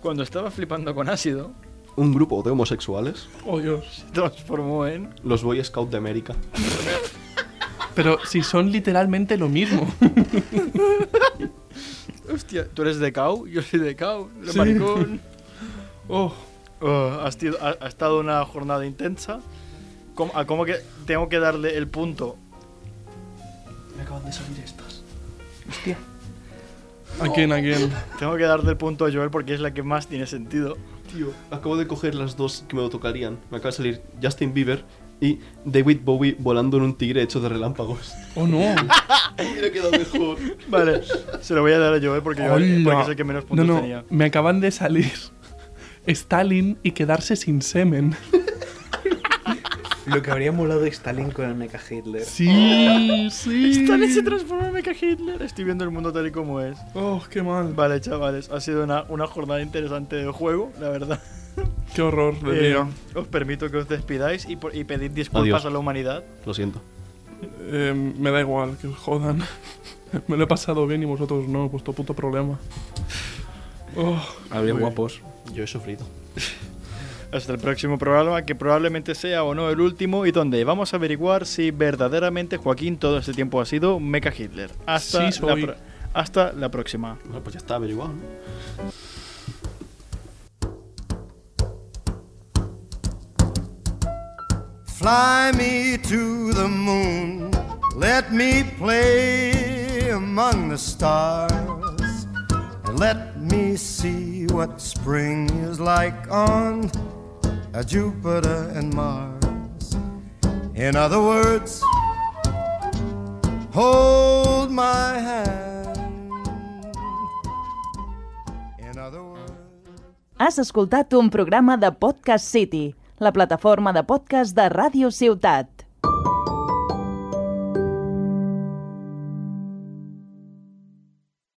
[SPEAKER 1] Cuando estaba flipando con ácido,
[SPEAKER 4] Un grupo de homosexuales,
[SPEAKER 2] ¡Oh, Dios!
[SPEAKER 1] se transformó en.
[SPEAKER 4] los Boy Scout de América.
[SPEAKER 2] Pero si son literalmente lo mismo.
[SPEAKER 1] Hostia, tú eres de Cau, yo soy de Cau, de
[SPEAKER 2] Sí. <laughs>
[SPEAKER 1] maricón.
[SPEAKER 2] ¡Oh!
[SPEAKER 1] Oh, ha, sido- ha- ha estado una jornada intensa. ¿Cómo, a cómo que tengo que darle el punto?
[SPEAKER 4] Me acaban de salir estas.
[SPEAKER 2] ¿A quién, a quién?
[SPEAKER 1] Tengo que darle el punto a Joel porque es la que más tiene sentido.
[SPEAKER 4] Tío, acabo de coger las dos que me tocarían. Me acaba de salir Justin Bieber y y David Bowie volando en un tigre hecho de <laughs> relámpagos.
[SPEAKER 1] <laughs>
[SPEAKER 2] Oh no.
[SPEAKER 4] Hubiera quedado mejor.
[SPEAKER 1] Vale, se lo voy a dar a Joel porque yo porque es el que menos puntos
[SPEAKER 2] no, no,
[SPEAKER 1] tenía.
[SPEAKER 2] me acaban de salir <laughs> Stalin y quedarse
[SPEAKER 1] <laughs>
[SPEAKER 2] sin semen.
[SPEAKER 3] Lo que habría molado es Stalin con el Mecha Hitler.
[SPEAKER 2] Sí, sí.
[SPEAKER 1] Oh, Stalin se transforma en Mecha Hitler. Estoy viendo el mundo tal y como es.
[SPEAKER 2] Oh, qué mal.
[SPEAKER 1] Vale, chavales, ha sido una, una jornada interesante de juego, la verdad.
[SPEAKER 2] Qué horror de
[SPEAKER 1] Eh,
[SPEAKER 2] día.
[SPEAKER 1] os permito que os despidáis y, por- y pedid disculpas
[SPEAKER 4] Adiós.
[SPEAKER 1] a la humanidad.
[SPEAKER 4] Lo siento.
[SPEAKER 2] Eh, me da igual que os jodan. <laughs> Me lo he pasado bien y vosotros no, vuestro puto problema. Oh,
[SPEAKER 5] Habría guapos.
[SPEAKER 4] Yo he sufrido.
[SPEAKER 1] Hasta el próximo programa, que probablemente sea o no el último, y donde vamos a averiguar si verdaderamente Joaquín todo este tiempo ha sido Mecha Hitler. Hasta,
[SPEAKER 2] Sí,
[SPEAKER 1] la,
[SPEAKER 2] soy.
[SPEAKER 1] pro- hasta la próxima.
[SPEAKER 4] Bueno, pues ya está averiguado, ¿no?
[SPEAKER 7] Fly me to the moon. Let me play among the stars. And let me see what spring is like on uh, Jupiter and Mars. In other words, hold my hand. In other words,
[SPEAKER 8] Has escoltat un programa de Podcast City, la plataforma de podcast de Ràdio Ciutat.